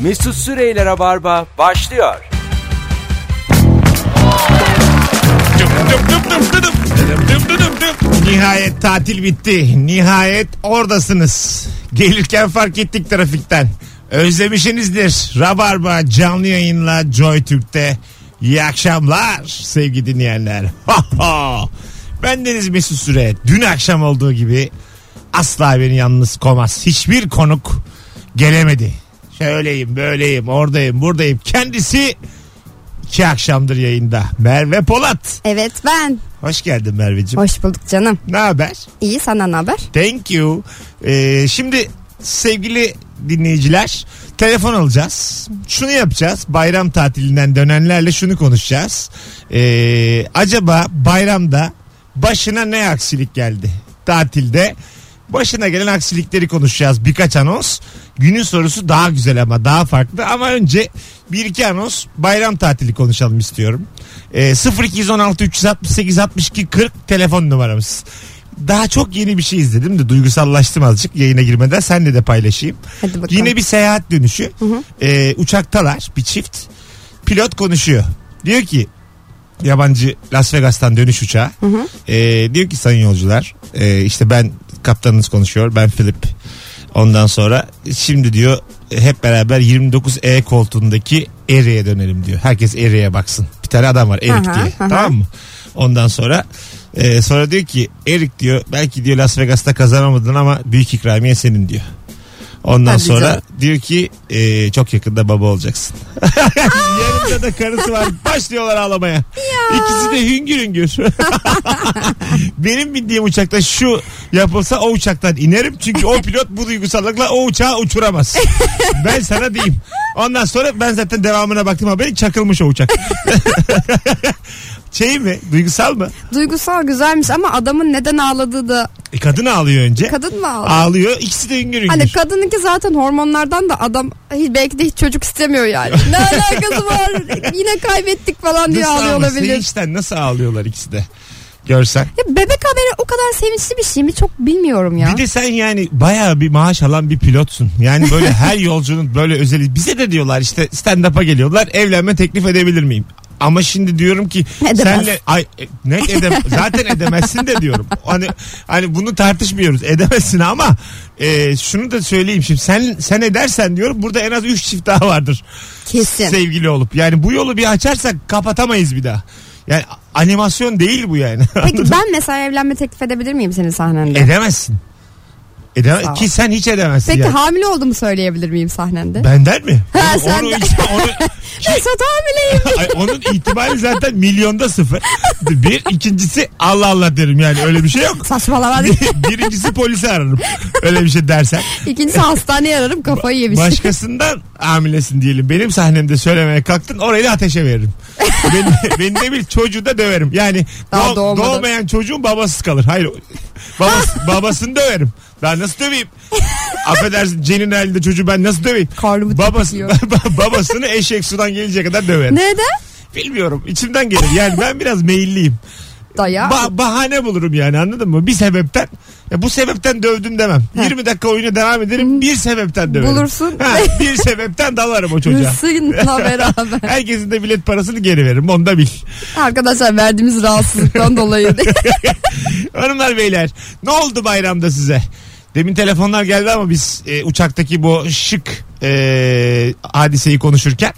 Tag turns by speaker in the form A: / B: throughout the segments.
A: Mesut Süreyler'e barba başlıyor.
B: Dım dım dım dım dı dım. Dım dım dı dım dım.
C: Nihayet tatil bitti. Nihayet oradasınız. Gelirken fark ettik trafikten. Özlemişsinizdir. Rabarba canlı yayınla Joy Türk'te. İyi akşamlar sevgili dinleyenler. ben Deniz Mesut Süre. Dün akşam olduğu gibi asla beni yalnız koymaz. Hiçbir konuk gelemedi. Şöyleyim, böyleyim, oradayım, buradayım. Kendisi iki akşamdır yayında. Merve Polat.
D: Evet ben.
C: Hoş geldin Merveciğim.
D: Hoş bulduk canım.
C: Ne haber?
D: İyi senden ne haber?
C: Thank you. Ee, şimdi sevgili dinleyiciler telefon alacağız. Şunu yapacağız. Bayram tatilinden dönenlerle şunu konuşacağız. Ee, acaba bayramda başına ne aksilik geldi? Tatilde başına gelen aksilikleri konuşacağız. Birkaç anons. Günün sorusu daha güzel ama daha farklı. Ama önce bir iki anons bayram tatili konuşalım istiyorum. Ee, 0216 368 62 40 telefon numaramız daha çok yeni bir şey izledim de duygusallaştım azıcık yayına girmeden senle de paylaşayım.
D: Hadi bakalım.
C: Yine bir seyahat dönüşü. Ee, uçaktalar bir çift. Pilot konuşuyor. Diyor ki yabancı Las Vegas'tan dönüş uçağı. Ee, diyor ki sayın yolcular e, işte ben kaptanınız konuşuyor ben Philip. Ondan sonra şimdi diyor hep beraber 29E koltuğundaki Eri'ye dönelim diyor. Herkes Eri'ye baksın. Bir tane adam var Erik
D: Aha,
C: diye.
D: aha.
C: Tamam mı? Ondan sonra e, sonra diyor ki Erik diyor belki diyor Las Vegas'ta kazanamadın ama büyük ikramiye senin diyor. Ondan
D: Hadi
C: sonra
D: canım.
C: diyor ki e, çok yakında baba olacaksın. Yanında da karısı var. Başlıyorlar ağlamaya. İkisi de hüngür hüngür. Benim bindiğim uçakta şu yapılsa o uçaktan inerim. Çünkü o pilot bu duygusallıkla o uçağı uçuramaz. ben sana diyeyim. Ondan sonra ben zaten devamına baktım haberi çakılmış o uçak. şey mi? Duygusal mı?
D: Duygusal güzelmiş ama adamın neden ağladığı da
C: E, kadın ağlıyor önce.
D: kadın mı ağladı?
C: Ağlıyor. İkisi de hüngür hüngür.
D: Hani kadınınki zaten hormonlardan da adam hiç- belki de hiç çocuk istemiyor yani. ne alakası var? Yine kaybettik falan diye
C: Nasıl
D: ağlıyor
C: ağlasın?
D: olabilir.
C: Sevinçten nasıl ağlıyorlar ikisi de. Görsen.
D: Ya bebek haberi o kadar sevinçli bir şey mi çok bilmiyorum ya.
C: Bir de sen yani bayağı bir maaş alan bir pilotsun. Yani böyle her yolcunun böyle özeli. Bize de diyorlar işte stand-up'a geliyorlar. Evlenme teklif edebilir miyim? Ama şimdi diyorum ki
D: Edemez.
C: senle ay e, ne edem zaten edemezsin de diyorum. Hani hani bunu tartışmıyoruz. Edemezsin ama e, şunu da söyleyeyim şimdi sen sen edersen diyorum burada en az 3 çift daha vardır.
D: Kesin.
C: Sevgili olup. Yani bu yolu bir açarsak kapatamayız bir daha. Yani animasyon değil bu yani.
D: Peki ben mesela evlenme teklif edebilir miyim senin sahnende?
C: Edemezsin. Edeme-
D: Sağ ol.
C: ki sen hiç edemezsin
D: Peki
C: yani.
D: hamile olduğumu söyleyebilir miyim sahnende?
C: Benden mi?
D: Ha,
C: Onu-
D: sen
C: onu,
D: de.
C: işte onu-
D: Mesut hamileyim.
C: ay, onun ihtimali zaten milyonda sıfır. Bir. ikincisi Allah Allah derim yani öyle bir şey yok.
D: Saçmalama.
C: Birincisi polisi ararım. Öyle bir şey dersen.
D: İkincisi hastaneye ararım kafayı yemiş.
C: Başkasından hamilesin diyelim. Benim sahnemde söylemeye kalktın orayı da ateşe veririm. beni, beni de bil çocuğu da döverim. Yani
D: Daha
C: doğ-
D: doğmadan.
C: doğmayan çocuğun babasız kalır. Hayır babası, babasını döverim. Ben nasıl döveyim? Affedersin Cen'in halinde çocuğu ben nasıl döveyim?
D: Karnımı
C: Babası,
D: tepkiyor.
C: babasını eşek sudan gelince kadar döverim.
D: Neden?
C: Bilmiyorum içimden gelir. Yani ben biraz meyilliyim.
D: Daya.
C: Ba- bahane bulurum yani anladın mı? Bir sebepten. Ya bu sebepten dövdüm demem. 20 dakika oyuna devam ederim. Bir sebepten döverim.
D: Bulursun.
C: Ha, bir sebepten dalarım o çocuğa.
D: Hırsıyla beraber.
C: Herkesin de bilet parasını geri veririm. Onu da bil.
D: Arkadaşlar verdiğimiz rahatsızlıktan dolayı.
C: Hanımlar beyler ne oldu bayramda size? Demin telefonlar geldi ama biz e, uçaktaki bu şık e, hadiseyi konuşurken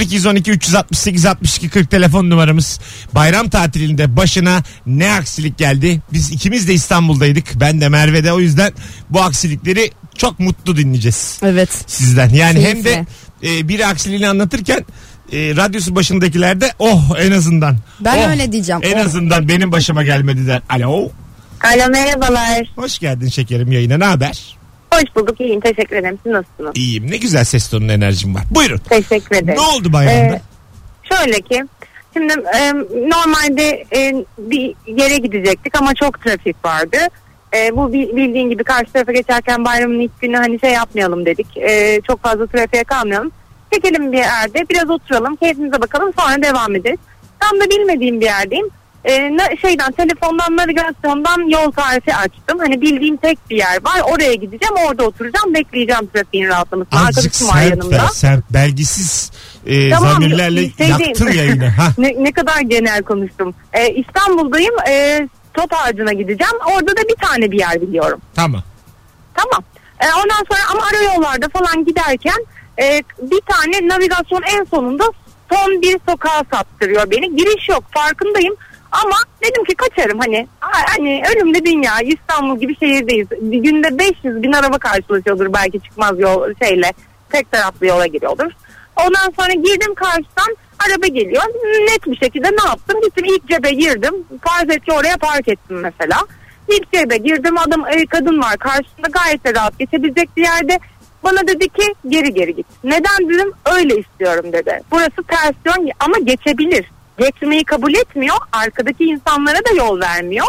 C: 0212 368 62 40 telefon numaramız. Bayram tatilinde başına ne aksilik geldi? Biz ikimiz de İstanbul'daydık. Ben de Merve'de o yüzden bu aksilikleri çok mutlu dinleyeceğiz
D: evet.
C: sizden. Yani hem de
D: Keyifle.
C: e, biri aksiliğini anlatırken e, radyosu başındakiler de oh en azından.
D: Ben
C: Oh,
D: öyle diyeceğim.
C: En
D: Oh.
C: azından benim başıma gelmedi der. Alo.
E: Alo merhabalar.
C: Hoş geldin şekerim yayına ne haber?
E: Hoş bulduk iyiyim teşekkür ederim. Siz nasılsınız?
C: İyiyim ne güzel ses tonun enerjim var. Buyurun.
E: Teşekkür ederim.
C: Ne oldu bayramda?
E: Ee, şöyle ki şimdi e, normalde e, bir yere gidecektik ama çok trafik vardı. E, bu bi- bildiğin gibi karşı tarafa geçerken bayramın ilk günü hani şey yapmayalım dedik. E, çok fazla trafiğe kalmayalım. Çekelim bir yerde biraz oturalım keyfimize bakalım sonra devam ederiz. Tam da bilmediğim bir yerdeyim.
F: e, na- şeyden telefondan navigasyondan yol tarifi açtım. Hani bildiğim tek bir yer var. Oraya gideceğim, orada oturacağım, bekleyeceğim trafiğin rahatlamasını.
C: Azıcık
F: Arkadaşım şey var
C: sert ver.
F: yanımda.
C: Sert. Belgisiz e,
F: Tamam,
C: zamirlerle
F: şey değil.
C: yaktın yayını. Ha.
F: Ne, ne kadar genel konuştum. E, İstanbul'dayım. E, Top ağacına gideceğim. Orada da bir tane bir yer biliyorum.
C: Tamam.
F: Tamam. E, ondan sonra ama ara yollarda falan giderken e, bir tane navigasyon en sonunda son bir sokağa saptırıyor beni. Giriş yok farkındayım. Ama dedim ki kaçarım hani a- hani önümde dünya İstanbul gibi şehirdeyiz. Bir günde 500 bin araba karşılaşıyordur belki çıkmaz yol şeyle tek taraflı yola giriyordur. Ondan sonra girdim karşıdan araba geliyor. Net bir şekilde ne yaptım? Gittim ilk cebe girdim. Farz et ki oraya park ettim mesela. İlk cebe girdim adam e, kadın var karşımda gayet de rahat geçebilecek bir yerde. Bana dedi ki geri geri git. Neden dedim öyle istiyorum dedi. Burası ters yön ama geçebilir. Geçmeyi kabul etmiyor. Arkadaki insanlara da yol vermiyor.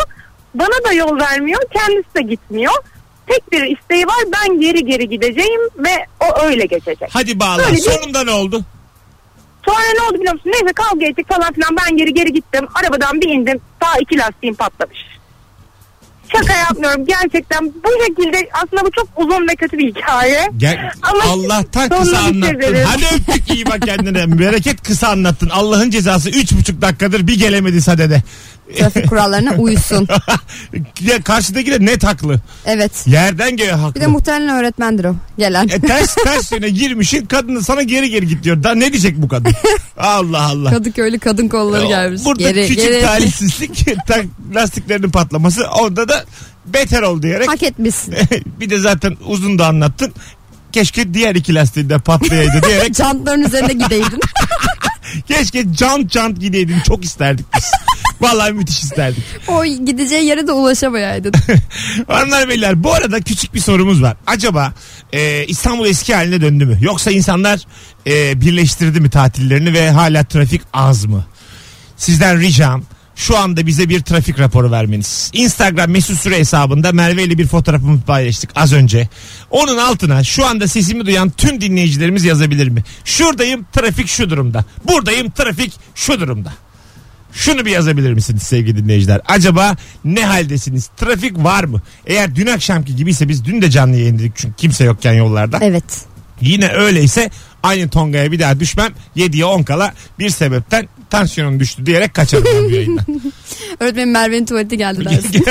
F: Bana da yol vermiyor. Kendisi de gitmiyor. Tek bir isteği var ben geri geri gideceğim ve o öyle geçecek.
C: Hadi bağla.
F: Öyle bir-
C: Sonunda ne oldu?
F: Sonra ne oldu biliyor musun? Neyse kavga ettik falan filan. Ben geri geri gittim. Arabadan bir indim. Daha iki lastiğim patlamış. Şaka yapmıyorum. Gerçekten bu şekilde aslında bu çok uzun ve kötü bir hikaye.
C: Gel,
F: Ama
C: Allah'tan
F: sonuna
C: kısa
F: bir şey
C: anlattın.
F: verelim.
C: Hadi öptük iyi bak kendine. Bereket kısa anlattın. Allah'ın cezası 3,5 dakikadır bir gelemedi sadede.
D: Trafik kurallarına uysun.
C: ya karşıdaki de net haklı.
D: Evet.
C: Yerden göğe haklı.
D: Bir de muhtemelen öğretmendir o gelen.
C: E, ters ters yöne girmişin kadını sana geri geri git diyor. Da ne diyecek bu kadın? Allah Allah.
D: Kadıköylü kadın kolları gelmiş.
C: Burada
D: Geri-
C: küçük
D: geri-
C: talihsizlik tak- lastiklerinin patlaması. Orada da beter ol diyerek
D: Hak etmişsin.
C: bir de zaten uzun da anlattın. Keşke diğer iki lastiği de patlayaydı diyerek
D: Çantaların üzerine gideydin.
C: keşke can can gideydin çok isterdik biz. Vallahi müthiş isterdik.
D: o gideceği yere de ulaşamayaydın.
C: Hanımlar beyler bu arada küçük bir sorumuz var. Acaba e, İstanbul eski haline döndü mü? Yoksa insanlar e, birleştirdi mi tatillerini ve hala trafik az mı? Sizden ricam şu anda bize bir trafik raporu vermeniz. Instagram mesut süre hesabında Merve ile bir fotoğrafımı paylaştık az önce. Onun altına şu anda sesimi duyan tüm dinleyicilerimiz yazabilir mi? Şuradayım trafik şu durumda. Buradayım trafik şu durumda. Şunu bir yazabilir misiniz sevgili dinleyiciler? Acaba ne haldesiniz? Trafik var mı? Eğer dün akşamki gibiyse biz dün de canlı yayınladık çünkü kimse yokken yollarda.
D: Evet.
C: Yine öyleyse aynı Tonga'ya bir daha düşmem. 7'ye 10 kala bir sebepten tansiyonum düştü diyerek kaçarım ben bu yayından.
D: Öğretmenim Merve'nin tuvaleti geldi dersin.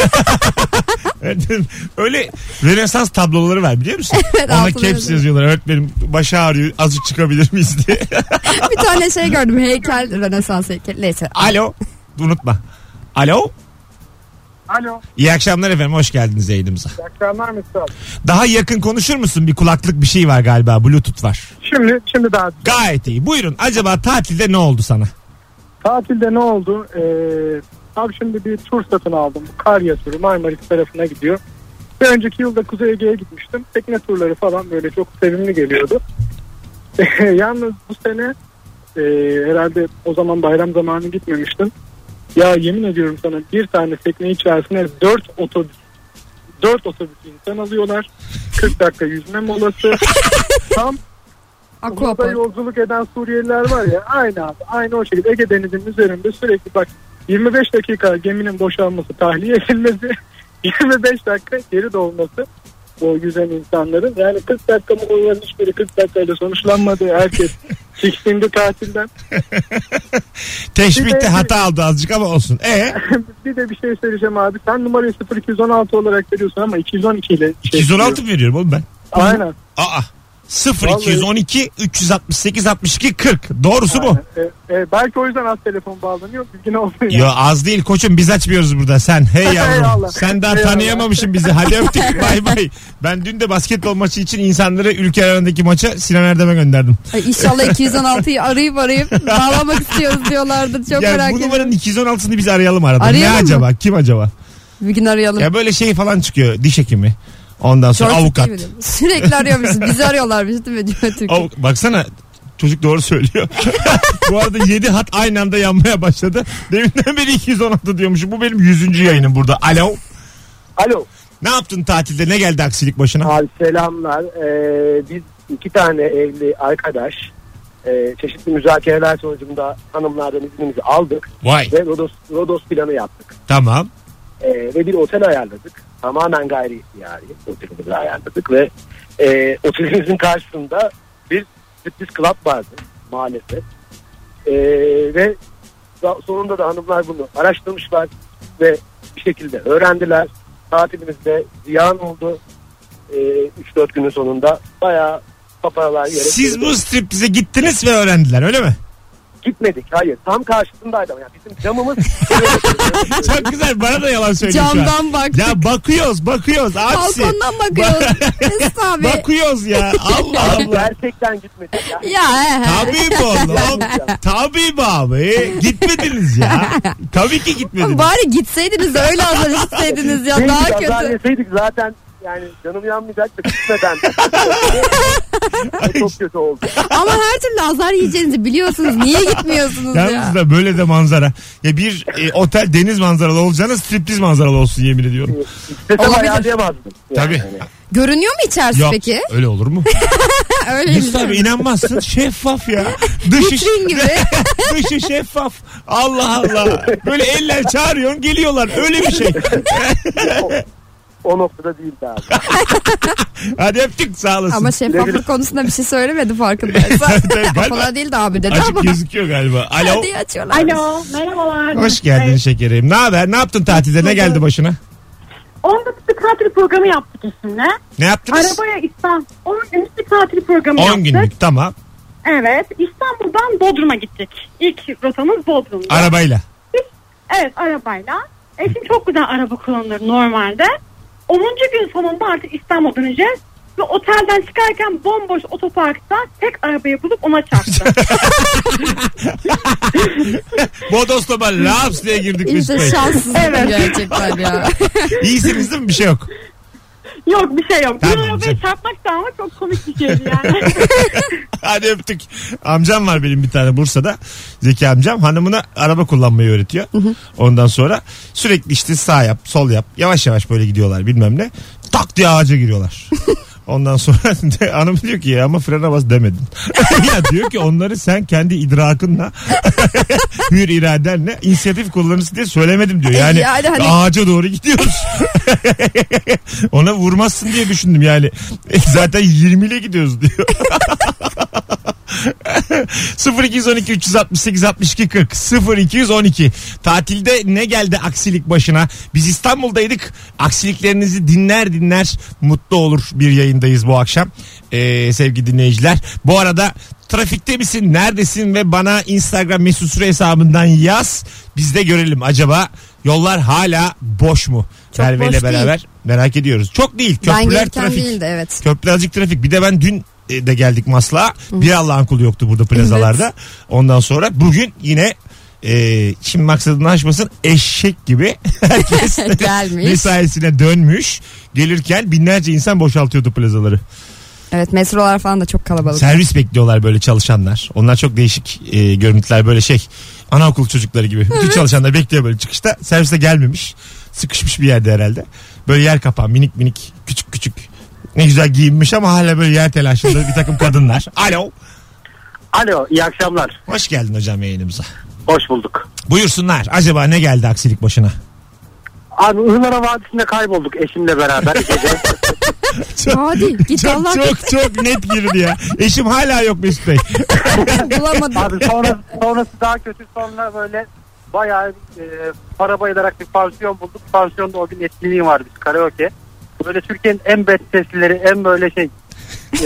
C: Öyle Rönesans tabloları var biliyor musun?
D: Evet,
C: Ona
D: altına
C: caps
D: yazıyor.
C: yazıyorlar. Öğretmenim başı ağrıyor azıcık çıkabilir miyiz diye.
D: bir tane şey gördüm. Heykel, Rönesans heykeli. Neyse.
C: Alo. Unutma. Alo.
G: Alo.
C: İyi akşamlar efendim. Hoş geldiniz yayınımıza.
G: iyi akşamlar Mesut abi.
C: Daha yakın konuşur musun? Bir kulaklık bir şey var galiba. Bluetooth var.
G: Şimdi, şimdi daha
C: Gayet iyi. Buyurun. Acaba tatilde ne oldu sana?
G: tatilde ne oldu? Ee, abi şimdi bir tur satın aldım. Karya turu Marmaris tarafına gidiyor. Bir önceki yılda Kuzey Ege'ye gitmiştim. Tekne turları falan böyle çok sevimli geliyordu. Yalnız bu sene e, herhalde o zaman bayram zamanı gitmemiştim. Ya yemin ediyorum sana bir tane tekne içerisine 4 otobüs 4 otobüs insan alıyorlar. 40 dakika yüzme molası. Tam Burada
D: Aquapark.
G: yolculuk eden Suriyeliler var ya aynı abi aynı o şekilde Ege Denizi'nin üzerinde sürekli bak 25 dakika geminin boşalması tahliye edilmesi 25 dakika geri dolması o yüzen insanların yani 40 dakika molaların hiçbiri 40 dakikayla sonuçlanmadı herkes tiksinti tatilden Bir
C: Teşbihte
G: de-
C: hata aldı azıcık ama olsun. E
G: bir de bir şey söyleyeceğim abi sen numarayı 0216 olarak veriyorsun ama 212 ile şey
C: 216
G: yapıyorum.
C: mı veriyorum oğlum ben?
G: aynen
C: Aa. 0
G: Vallahi-
C: 212 368 62 40. Doğrusu bu.
G: aynen. E, e, belki o yüzden az telefon bağlanıyor bilgin olmuyor
C: Yo az değil koçum biz açmıyoruz burada sen. Hey yavrum.
G: Eyvallah.
C: sen daha
G: Eyvallah.
C: tanıyamamışsın bizi. Hadi öptük bay bay. Ben dün de basketbol maçı için insanları ülke arasındaki maça Sinan Erdem'e gönderdim.
D: Ay inşallah 216'yı arayıp arayıp bağlamak istiyoruz diyorlardı. Çok
C: ya
D: merak
C: bu
D: ediyorum.
C: numaranın 216'sını biz arayalım arada.
D: Arayalım
C: ne
D: mı?
C: acaba? Kim acaba?
D: Bir gün arayalım.
C: Ya böyle şey falan çıkıyor diş hekimi. Ondan sonra
D: George
C: avukat.
D: Clooney mi? Sürekli arıyormuşuz. Bizi arıyorlarmış değil mi? Diyor Türkiye.
C: Avuk- baksana çocuk doğru söylüyor. Bu arada 7 hat aynı anda yanmaya başladı. Deminden beri 216 diyormuşum. Bu benim 100. yayınım burada. Alo.
H: Alo.
C: Ne yaptın tatilde? Ne geldi aksilik başına?
H: Abi selamlar. Ee, biz iki tane evli arkadaş
G: e, çeşitli müzakereler sonucunda hanımlardan iznimizi aldık
C: Vay
G: ve Rodos, Rodos planı yaptık.
C: tamam.
G: E, ve bir otel ayarladık. Tamamen gayri ihtiyari otelimizi ayarladık ve e, otelimizin karşısında bir striptiz club vardı maalesef. E, ve da- sonunda da hanımlar bunu araştırmışlar ve bir şekilde öğrendiler. Tatilimizde ziyan oldu. E, 3-4 günün sonunda bayağı paparalar yere
C: Siz bu striptize gittiniz ve öğrendiler öyle mi?
G: Gitmedik hayır. Tam karşısındaydı ama yani bizim camımız
C: Çok güzel bana da yalan söylüyor şu an.
D: Camdan baktık.
C: şey Ya bakıyoruz bakıyoruz. Aksi.
D: Balkondan bakıyoruz. Mesut abi.
C: Bakıyoruz ya. Allah
G: Abi
C: Allah.
G: gerçekten gitmedik ya.
D: ya he, he.
C: Tabii mi oğlum? Tabii mi abi? Gitmediniz ya. Tabii ki gitmediniz.
D: Bari gitseydiniz de öyle hazır hisseydiniz ya daha
G: Biz azar
D: kötü.
G: yeseydik zaten yani canım yanmayacaktı gitmeden. çok kötü oldu.
D: Ama her türlü azar yiyeceğinizi biliyorsunuz. Niye gitmiyorsunuz
C: Yalnız
D: ya?
C: da böyle de manzara. Ya bir e, otel deniz manzaralı olacağına striptiz manzaralı olsun yemin ediyorum.
G: İstesem
D: Olabilir.
G: ayarlayamazdım.
C: Tabii.
G: hani
D: Görünüyor mu içerisi
C: Yok
D: peki?
C: öyle olur mu?
D: Öyle şey.
C: Mesut
D: mi?
C: abi inanmazsın şeffaf ya. Dışı,
D: Vitrin gibi.
C: dışı şeffaf. Allah Allah. Böyle eller çağırıyorsun geliyorlar. Öyle bir şey.
G: O noktada değildi abi.
C: Hadi öptük sağ olasın.
D: Ama şeffaflık konusunda bir şey söylemedi farkındaysan.
C: Tabii, galiba-
D: Falan değil de abi dedi ama.
C: Açık gözüküyor galiba. Alo.
D: Hadi açıyorlar.
F: Alo merhabalar.
C: Hoş geldin şekerim. Ne haber? Ne yaptın tatilde? Ne geldi başına?
F: 10 Ee, günlük tatil programı yaptık eşimle.
C: Ne yaptınız?
F: Arabaya İstanbul 10 günlük bir tatil programı
C: 10
F: yaptık.
C: günlük tamam.
F: Evet İstanbul'dan Bodrum'a gittik. İlk rotamız Bodrum'da.
C: Arabayla.
F: Evet arabayla. Eşim çok güzel araba kullanır normalde. 10. gün sonunda artık İstanbul'a döneceğiz. Ve otelden çıkarken bomboş otoparkta tek arabayı bulup ona çarptı.
C: Bodoslama laps diye girdik biz.
D: İşte şanssızlık
F: Evet.
D: gerçekten ya.
C: İyisiniz değil mi? Bir şey yok.
F: yok bir şey yok. Bir
C: Tamam,
F: arabaya
C: güzel.
F: çarpmak da ama çok komik bir şeydi yani.
C: Hadi öptük. Amcam var benim bir tane Bursa'da. Zeki amcam hanımına araba kullanmayı öğretiyor. Ondan sonra sürekli işte sağ yap, sol yap. Yavaş yavaş böyle gidiyorlar bilmem ne. Tak diye ağaca giriyorlar. Ondan sonra de- hanım diyor ki ya ama frene bas demedin. ya diyor ki onları sen kendi idrakınla hür iradenle inisiyatif kullanırsın diye söylemedim diyor. Yani,
D: Yani hani-
C: ağaca doğru gidiyoruz. Ona vurmazsın diye düşündüm yani. Zaten 20 ile gidiyoruz diyor. 0212 368 62 40 0212 tatilde ne geldi aksilik başına biz İstanbul'daydık aksiliklerinizi dinler dinler mutlu olur bir yayındayız bu akşam Ee, sevgili dinleyiciler bu arada trafikte misin neredesin ve bana instagram mesut süre hesabından yaz biz de görelim acaba yollar hala boş mu
D: Çok
C: Merve ile
D: boş değil.
C: beraber merak ediyoruz çok değil
D: Ben
C: köprüler
D: gelirken
C: trafik
D: değildi evet.
C: Köprü azıcık trafik. Bir de ben dün e, de geldik Maslak'a. Bir Allah'ın kulu yoktu burada plazalarda. Ondan sonra bugün yine e, şimdi maksadını aşmasın eşek gibi herkes
D: Gelmiş.
C: mesaisine dönmüş. Gelirken binlerce insan boşaltıyordu plazaları.
D: Evet metrolar falan da çok kalabalık.
C: Servis bekliyorlar böyle çalışanlar. Onlar çok değişik e, görüntüler böyle şey. Anaokul çocukları gibi. Bütün çalışanlar bekliyor böyle çıkışta. Serviste gelmemiş. Sıkışmış bir yerde herhalde. Böyle yer kapan minik minik küçük küçük. Ne güzel giyinmiş ama hala böyle yer telaşında bir takım kadınlar. Alo.
G: Alo iyi akşamlar.
C: Hoş geldin hocam yayınımıza.
G: Hoş bulduk.
C: Buyursunlar. Acaba ne geldi aksilik başına?
G: Abi Ihlara Vadisi'nde kaybolduk eşimle beraber. Gece.
D: Hadi git
C: Çok
D: Allah
C: çok çok net girdi ya. Eşim hala yok Mesut Bey.
D: bulamadım.
G: Abi sonra, sonrası daha kötü sonra böyle bayağı e, para bayılarak bir pansiyon bulduk. Pansiyonda o gün etkinliği var biz karaoke. Böyle Türkiye'nin en bet seslileri en böyle şey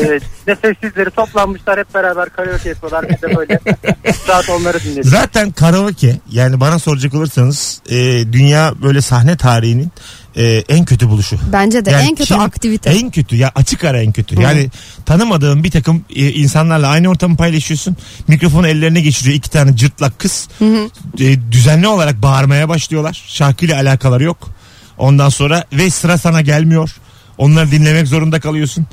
G: e, ne sessizleri toplanmışlar hep beraber karaoke yapıyorlar. Biz de böyle bir saat onları dinledik.
C: Zaten karaoke yani bana soracak olursanız e, dünya böyle sahne tarihinin e, en kötü buluşu.
D: Bence de
C: Yani
D: en kötü
C: kim-
D: aktivite.
C: En kötü ya açık ara en kötü. Yani tanımadığın bir takım e, insanlarla aynı ortamı paylaşıyorsun. Mikrofonu ellerine geçiriyor iki tane cırtlak kız. E, düzenli olarak bağırmaya başlıyorlar. Şarkıyla alakaları yok. Ondan sonra ve sıra sana gelmiyor. Onları dinlemek zorunda kalıyorsun.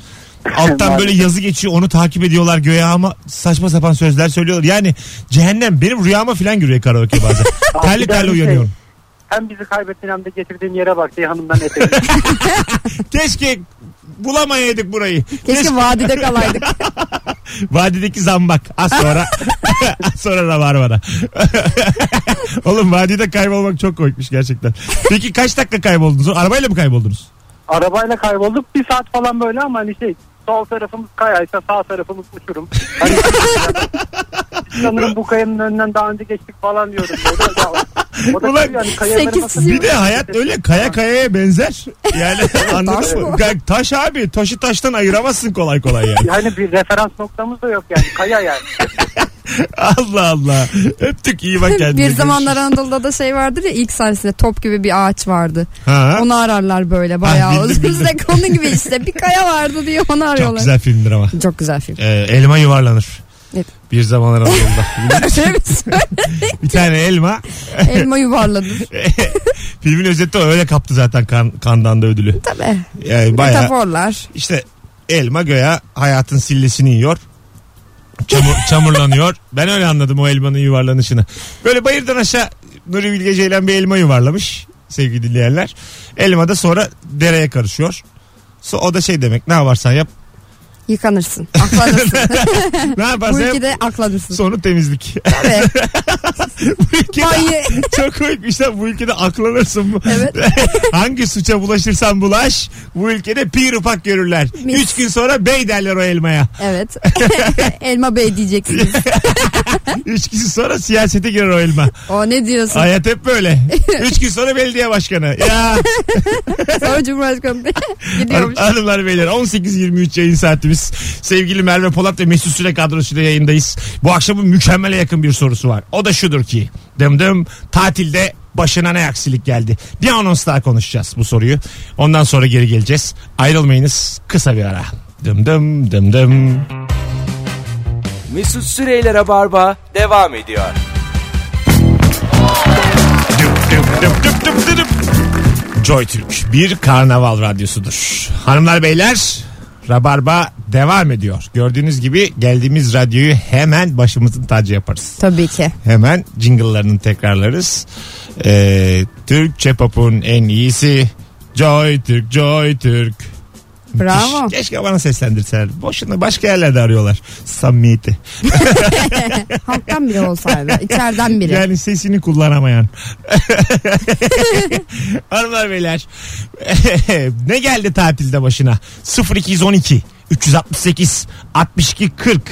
C: Alttan böyle yazı geçiyor onu takip ediyorlar göğe ama saçma sapan sözler söylüyorlar. Yani cehennem benim rüyama falan giriyor karaoke bazen. terli terli uyanıyorum.
G: Hem bizi kaybettin hem de getirdiğin yere bak diye hanımdan etek.
C: Keşke bulamayaydık burayı.
D: Keşke vadide kalaydık.
C: Vadideki zambak. Az sonra az sonra rabarbada. Oğlum vadide kaybolmak çok komikmiş gerçekten. Peki kaç dakika kayboldunuz? Arabayla mı kayboldunuz?
G: Arabayla kaybolduk. Bir saat falan böyle ama hani şey sol tarafımız kayaysa sağ tarafımız uçurum. Hani sanırım bu kayanın önünden daha önce geçtik falan diyorum. Böyle. Ya, o da
C: Ulan,
G: tabii hani kayaların şey?
D: sekiz
G: arasında-
C: Bir de hayat öyle kaya kayaya benzer. Yani
D: Taş
C: anladın mı?
D: bu.
C: Ga- Taş abi taşı taştan ayıramazsın kolay kolay yani.
G: Yani bir referans noktamız da yok yani. Kaya yani.
C: Allah Allah. Öptük iyi bak kendine.
D: bir
C: Görüşürüz.
D: zamanlar Anadolu'da da şey vardır ya ilk sersinde top gibi bir ağaç vardı.
C: Ha,
D: Onu ararlar böyle bayağı.
C: bildim, bildim.
D: Bizde konu gibi işte bir kaya vardı diye onu arıyorlar.
C: çok güzel filmdir ama.
D: Çok güzel film.
C: Ee, elma yuvarlanır.
D: Evet.
C: Bir zamanlar Anadolu'da. bir tane elma.
D: Elma yuvarladı.
C: Filmin özeti o. öyle kaptı zaten kan, kandan da ödülü.
D: Tabii.
C: Yani bayağı
D: Metaforlar.
C: İşte elma göya hayatın sillesini yiyor. Çamur, çamurlanıyor. Ben öyle anladım o elmanın yuvarlanışını. Böyle bayırdan aşağı Nuri Bilge Ceylan bir elma yuvarlamış sevgili dinleyenler. Elma da sonra dereye karışıyor. So, o da şey demek ne yaparsan yap.
D: Yıkanırsın. Aklanırsın.
C: Ne
D: Bu
C: yaparsan yap.
D: ülkede aklanırsın.
C: Sonu temizlik.
D: Tabii.
C: bu ülkede,
D: Banyo.
C: çok koymuş lan bu ülkede aklanırsın. bu.
D: Evet.
C: Hangi suça bulaşırsan bulaş bu ülkede pir ufak görürler.
D: Mis.
C: Üç gün sonra bey derler o elmaya.
D: Evet. Elma Bey diyeceksiniz.
C: Üç gün sonra siyasete girer o elma.
D: O ne diyorsun?
C: Hayat hep böyle. Üç gün sonra belediye başkanı. Ya
D: Sonra Cumhurbaşkanı Bey
C: hanım-
D: gidiyormuş.
C: hanımlar beyler 18-23 yayın saatimiz. Sevgili Merve Polat ve Mesut Süre kadrosuyla yayındayız. Bu akşamın mükemmele yakın bir sorusu var. O da şudur ki. Dım dım tatilde başına ne aksilik geldi? Bir anons daha konuşacağız bu soruyu. Ondan sonra geri geleceğiz. Ayrılmayınız kısa bir ara. Dım dım dım dım.
A: Mesut Süreyler'e barba devam ediyor.
C: Joy Türk bir karnaval radyosudur. Hanımlar beyler Rabarba devam ediyor. Gördüğünüz gibi geldiğimiz radyoyu hemen başımızın tacı yaparız.
D: Tabii ki.
C: Hemen jingle'larını tekrarlarız. Ee, Türkçe pop'un en iyisi Joy Türk, Joy Türk. Müthiş.
D: Bravo.
C: Keşke bana seslendirseler. Boşuna başka yerlerde arıyorlar. Samimiyeti.
D: Halktan biri olsaydı. içeriden biri.
C: Yani sesini kullanamayan. Hanımlar beyler. ne geldi tatilde başına? 0212 368 62 40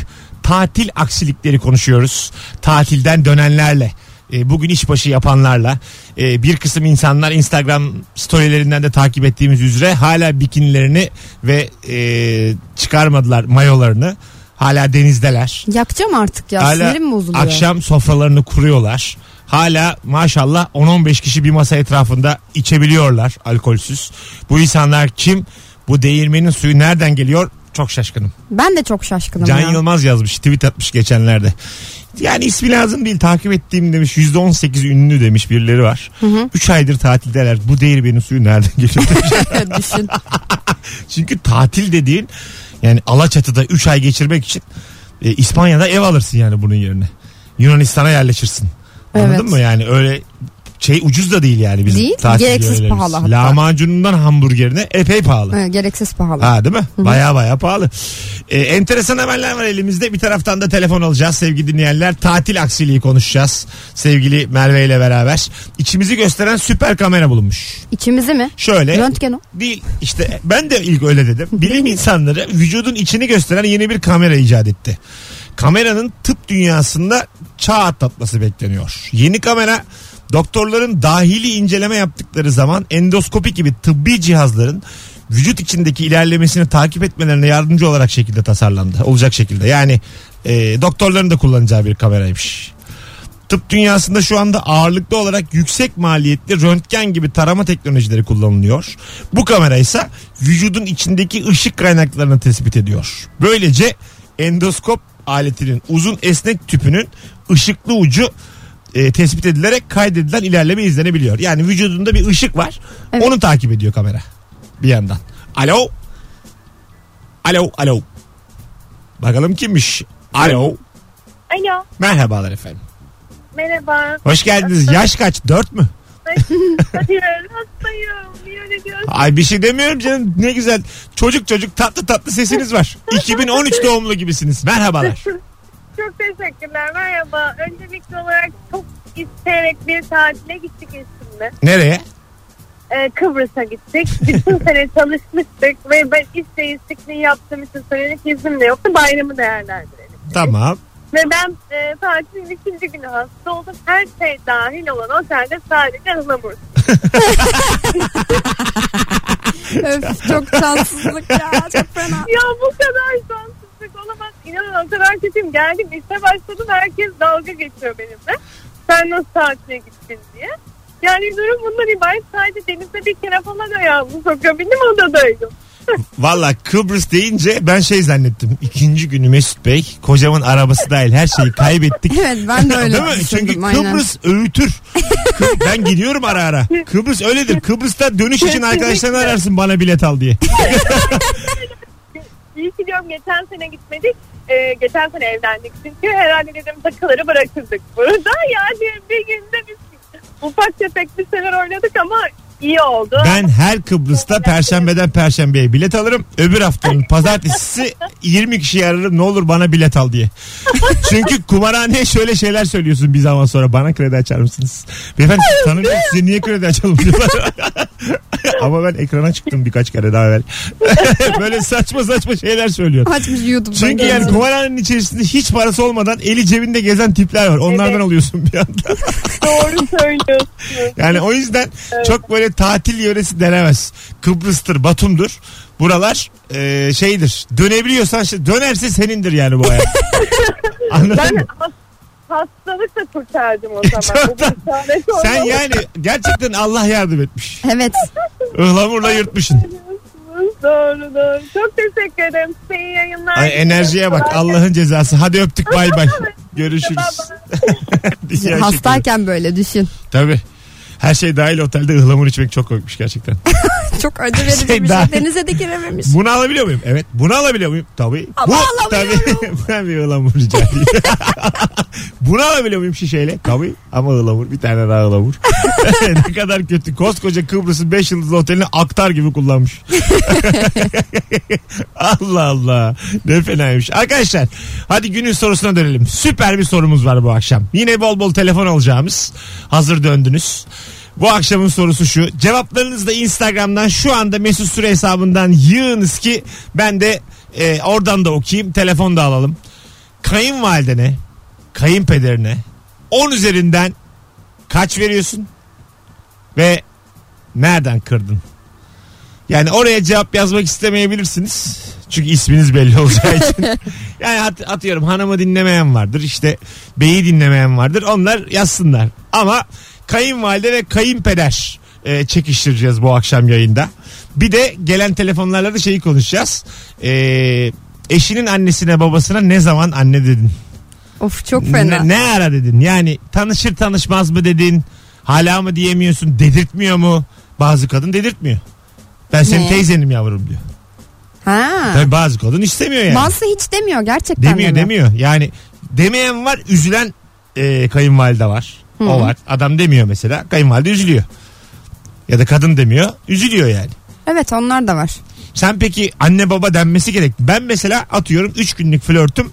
C: tatil aksilikleri konuşuyoruz. Tatilden dönenlerle. e, Bugün işbaşı yapanlarla E, bir kısım insanlar Instagram storylerinden de takip ettiğimiz üzere hala bikinilerini ve e, çıkarmadılar mayolarını. Hala denizdeler.
D: Yakacağım artık ya. Sinirim bozuluyor.
C: Akşam sofralarını kuruyorlar. Hala maşallah 10-15 kişi bir masa etrafında içebiliyorlar alkolsüz. Bu insanlar kim? Bu değirmenin suyu nereden geliyor? Çok şaşkınım.
D: Ben de çok şaşkınım
C: Can
D: ya.
C: Yılmaz yazmış tweet atmış geçenlerde. Yani ismi lazım değil takip ettiğim demiş %18 ünlü demiş birileri var. 3 aydır tatildeler bu değirmenin suyu nereden geliyor?
D: Düşün.
C: Çünkü tatil dediğin yani Alaçatı'da 3 ay geçirmek için e, İspanya'da ev alırsın yani bunun yerine. Yunanistan'a yerleşirsin. Anladın
D: Evet.
C: mı yani öyle şey ucuz da değil yani bizim
D: Değil,
C: tatil
D: gereksiz
C: yerlerimiz.
D: pahalı hatta.
C: Lahmacunundan hamburgerine epey pahalı.
D: Ha, gereksiz pahalı.
C: Ha değil mi? Baya baya pahalı. Ee, enteresan haberler var elimizde. Bir taraftan da telefon alacağız sevgili dinleyenler. Tatil aksiliği konuşacağız sevgili Merve ile beraber. İçimizi gösteren süper kamera bulunmuş.
D: İçimizi mi?
C: Şöyle.
D: Röntgen o.
C: Değil işte ben de ilk öyle dedim. Bilim insanları vücudun içini gösteren yeni bir kamera icat etti. Kameranın tıp dünyasında çağ atlatması bekleniyor. Yeni kamera doktorların dahili inceleme yaptıkları zaman endoskopi gibi tıbbi cihazların vücut içindeki ilerlemesini takip etmelerine yardımcı olarak şekilde tasarlandı. Olacak şekilde yani e, doktorların da kullanacağı bir kameraymış tıp dünyasında şu anda ağırlıklı olarak yüksek maliyetli röntgen gibi tarama teknolojileri kullanılıyor. Bu kamera ise vücudun içindeki ışık kaynaklarını tespit ediyor. Böylece endoskop aletinin uzun esnek tüpünün ışıklı ucu e, tespit edilerek kaydedilen ilerleme izlenebiliyor. Yani vücudunda bir ışık var.
D: Evet.
C: Onu takip ediyor kamera bir yandan. Alo. Alo, alo. Bakalım kimmiş? Alo.
E: Alo
C: Merhabalar efendim.
E: merhaba.
C: Hoş geldiniz. Yaş kaç? Dört mü?
I: hastayım. Hayır hastayım. Niye öyle diyorsun?
C: Ay bir şey demiyorum canım. Ne güzel. Çocuk çocuk tatlı tatlı sesiniz var. 2013 doğumlu gibisiniz. Merhabalar.
F: Çok teşekkürler. Merhaba. Öncelikli olarak çok isteyerek bir tatile gittik eşimle.
C: Nereye?
F: Ee, Kıbrıs'a gittik. Bütün sene çalışmıştık ve ben isteği istikliği yaptığım için söyledik iznim de yoktu. Bayramı değerlendirelim.
C: Tamam.
F: Ve ben e, tatilin ikinci günü hasta oldum. Her şey dahil olan otelde sadece ıhlamur.
D: Öf, çok tatsızlık ya. Çok fena.
F: Ya bu kadar şanssızlık olamaz. İnanın o kadar kötüyüm. Geldim işe başladım. Herkes dalga geçiyor benimle. Sen nasıl tatile gittin diye. Yani durum bundan ibaret. Sadece denizde bir kere falan ayağımı sokabildim odadaydım.
C: Valla Kıbrıs deyince ben şey zannettim. İkinci günü Mesut Bey kocaman arabası dahil her şeyi kaybettik.
D: Evet ben de öyle
C: Değil mi?
D: düşündüm.
C: Çünkü
D: aynen.
C: Kıbrıs öğütür. Kı- ben gidiyorum ara ara. Kıbrıs öyledir. Kıbrıs'ta dönüş için arkadaşlarını ararsın bana bilet al diye.
F: İyi ki diyorum geçen sene gitmedik. Ee, geçen sene evlendik çünkü herhalde dedim takıları bırakırdık burada. Yani bir günde biz ufak tefek bir şeyler oynadık ama iyi oldu.
C: Ben her Kıbrıs'ta perşembeden perşembeye bilet alırım. Öbür haftanın pazartesisi 20 kişiyi ararım ne olur bana bilet al diye. Çünkü kumarhaneye şöyle şeyler söylüyorsun bir zaman sonra bana kredi açar mısınız? Beyefendi tanımıyorum size niye kredi açalım diyorlar. Ama ben ekrana çıktım birkaç kere daha evvel. Böyle saçma saçma şeyler söylüyorum.
D: Açmış YouTube'dan.
C: Çünkü yani
D: görüyorum.
C: kumarhanenin içerisinde hiç parası olmadan eli cebinde gezen tipler var. Onlardan
F: Evet.
C: alıyorsun bir anda.
F: Doğru söylüyorsunuz.
C: Yani o yüzden çok böyle tatil yöresi denemez. Kıbrıs'tır, Batum'dur. Buralar e, şeydir. Dönebiliyorsan şey- dönerse senindir yani bu hayat. Anladın
F: Ben
C: mı?
F: has- hastalık da kurtardım o zaman. Bu
C: Çoktan.
F: bir tane sorun
C: Sen
F: olmaz.
C: yani gerçekten Allah yardım etmiş.
D: Evet.
C: Ihlamurla yırtmışsın.
F: Doğru doğru. Çok teşekkür ederim. Size iyi yayınlar.
C: Ay, enerjiye bak Allah'ın cezası. Hadi öptük bay bay. Görüşürüz. Dünya şekeri.
D: Hastayken böyle düşün.
C: Tabii. Her şey dahil otelde ıhlamur içmek çok komikmiş gerçekten.
D: Çok acı verici
C: Şey
D: bir
C: daha-
D: şey. Denize de girememiş.
C: Bunu alabiliyor muyum? Evet. Bunu alabiliyor muyum? Tabii.
D: Ama
C: Bu, tabii.
D: alamıyorum.
C: ben bir ıhlamur rica edeyim. Bunu alabiliyor muyum şişeyle? Tabii. Ama ıhlamur. Bir tane daha ıhlamur. ne kadar kötü. Koskoca Kıbrıs'ın 5 yıldızlı otelini aktar gibi kullanmış. Allah Allah. Ne fenaymış. Arkadaşlar hadi günün sorusuna dönelim. Süper bir sorumuz var bu akşam. Yine bol bol telefon alacağımız. Hazır döndünüz. Bu akşamın sorusu şu. Cevaplarınızı da Instagram'dan şu anda Mesut Süre hesabından yığınız ki ben de e, oradan da okuyayım. Telefon da alalım. Kayınvalidene, kayınpederine 10 üzerinden kaç veriyorsun? Ve nereden kırdın? Yani oraya cevap yazmak istemeyebilirsiniz. Çünkü isminiz belli olacağı için. yani at- atıyorum hanımı dinlemeyen vardır. işte beyi dinlemeyen vardır. Onlar yazsınlar. Ama kayınvalide ve kayınpeder e, çekiştireceğiz bu akşam yayında. Bir de gelen telefonlarla da şeyi konuşacağız. E, eşinin annesine babasına ne zaman anne dedin?
D: Of çok fena.
C: Ne, ne ara dedin? Yani tanışır tanışmaz mı dedin? Hala mı diyemiyorsun? Dedirtmiyor mu? Bazı kadın dedirtmiyor. Ben senin
D: Ne?
C: teyzenim yavrum diyor.
D: Ha.
C: Tabii bazı kadın istemiyor yani.
D: Bazısı hiç demiyor gerçekten.
C: demiyor
D: demiyor.
C: demiyor. Yani demeyen var üzülen e, kayınvalide var. O
D: Hı.
C: var. Adam demiyor mesela. Kayınvalide üzülüyor. Ya da kadın demiyor. Üzülüyor yani.
D: Evet onlar da var.
C: Sen peki anne baba denmesi gerek. Ben mesela atıyorum 3 günlük flörtüm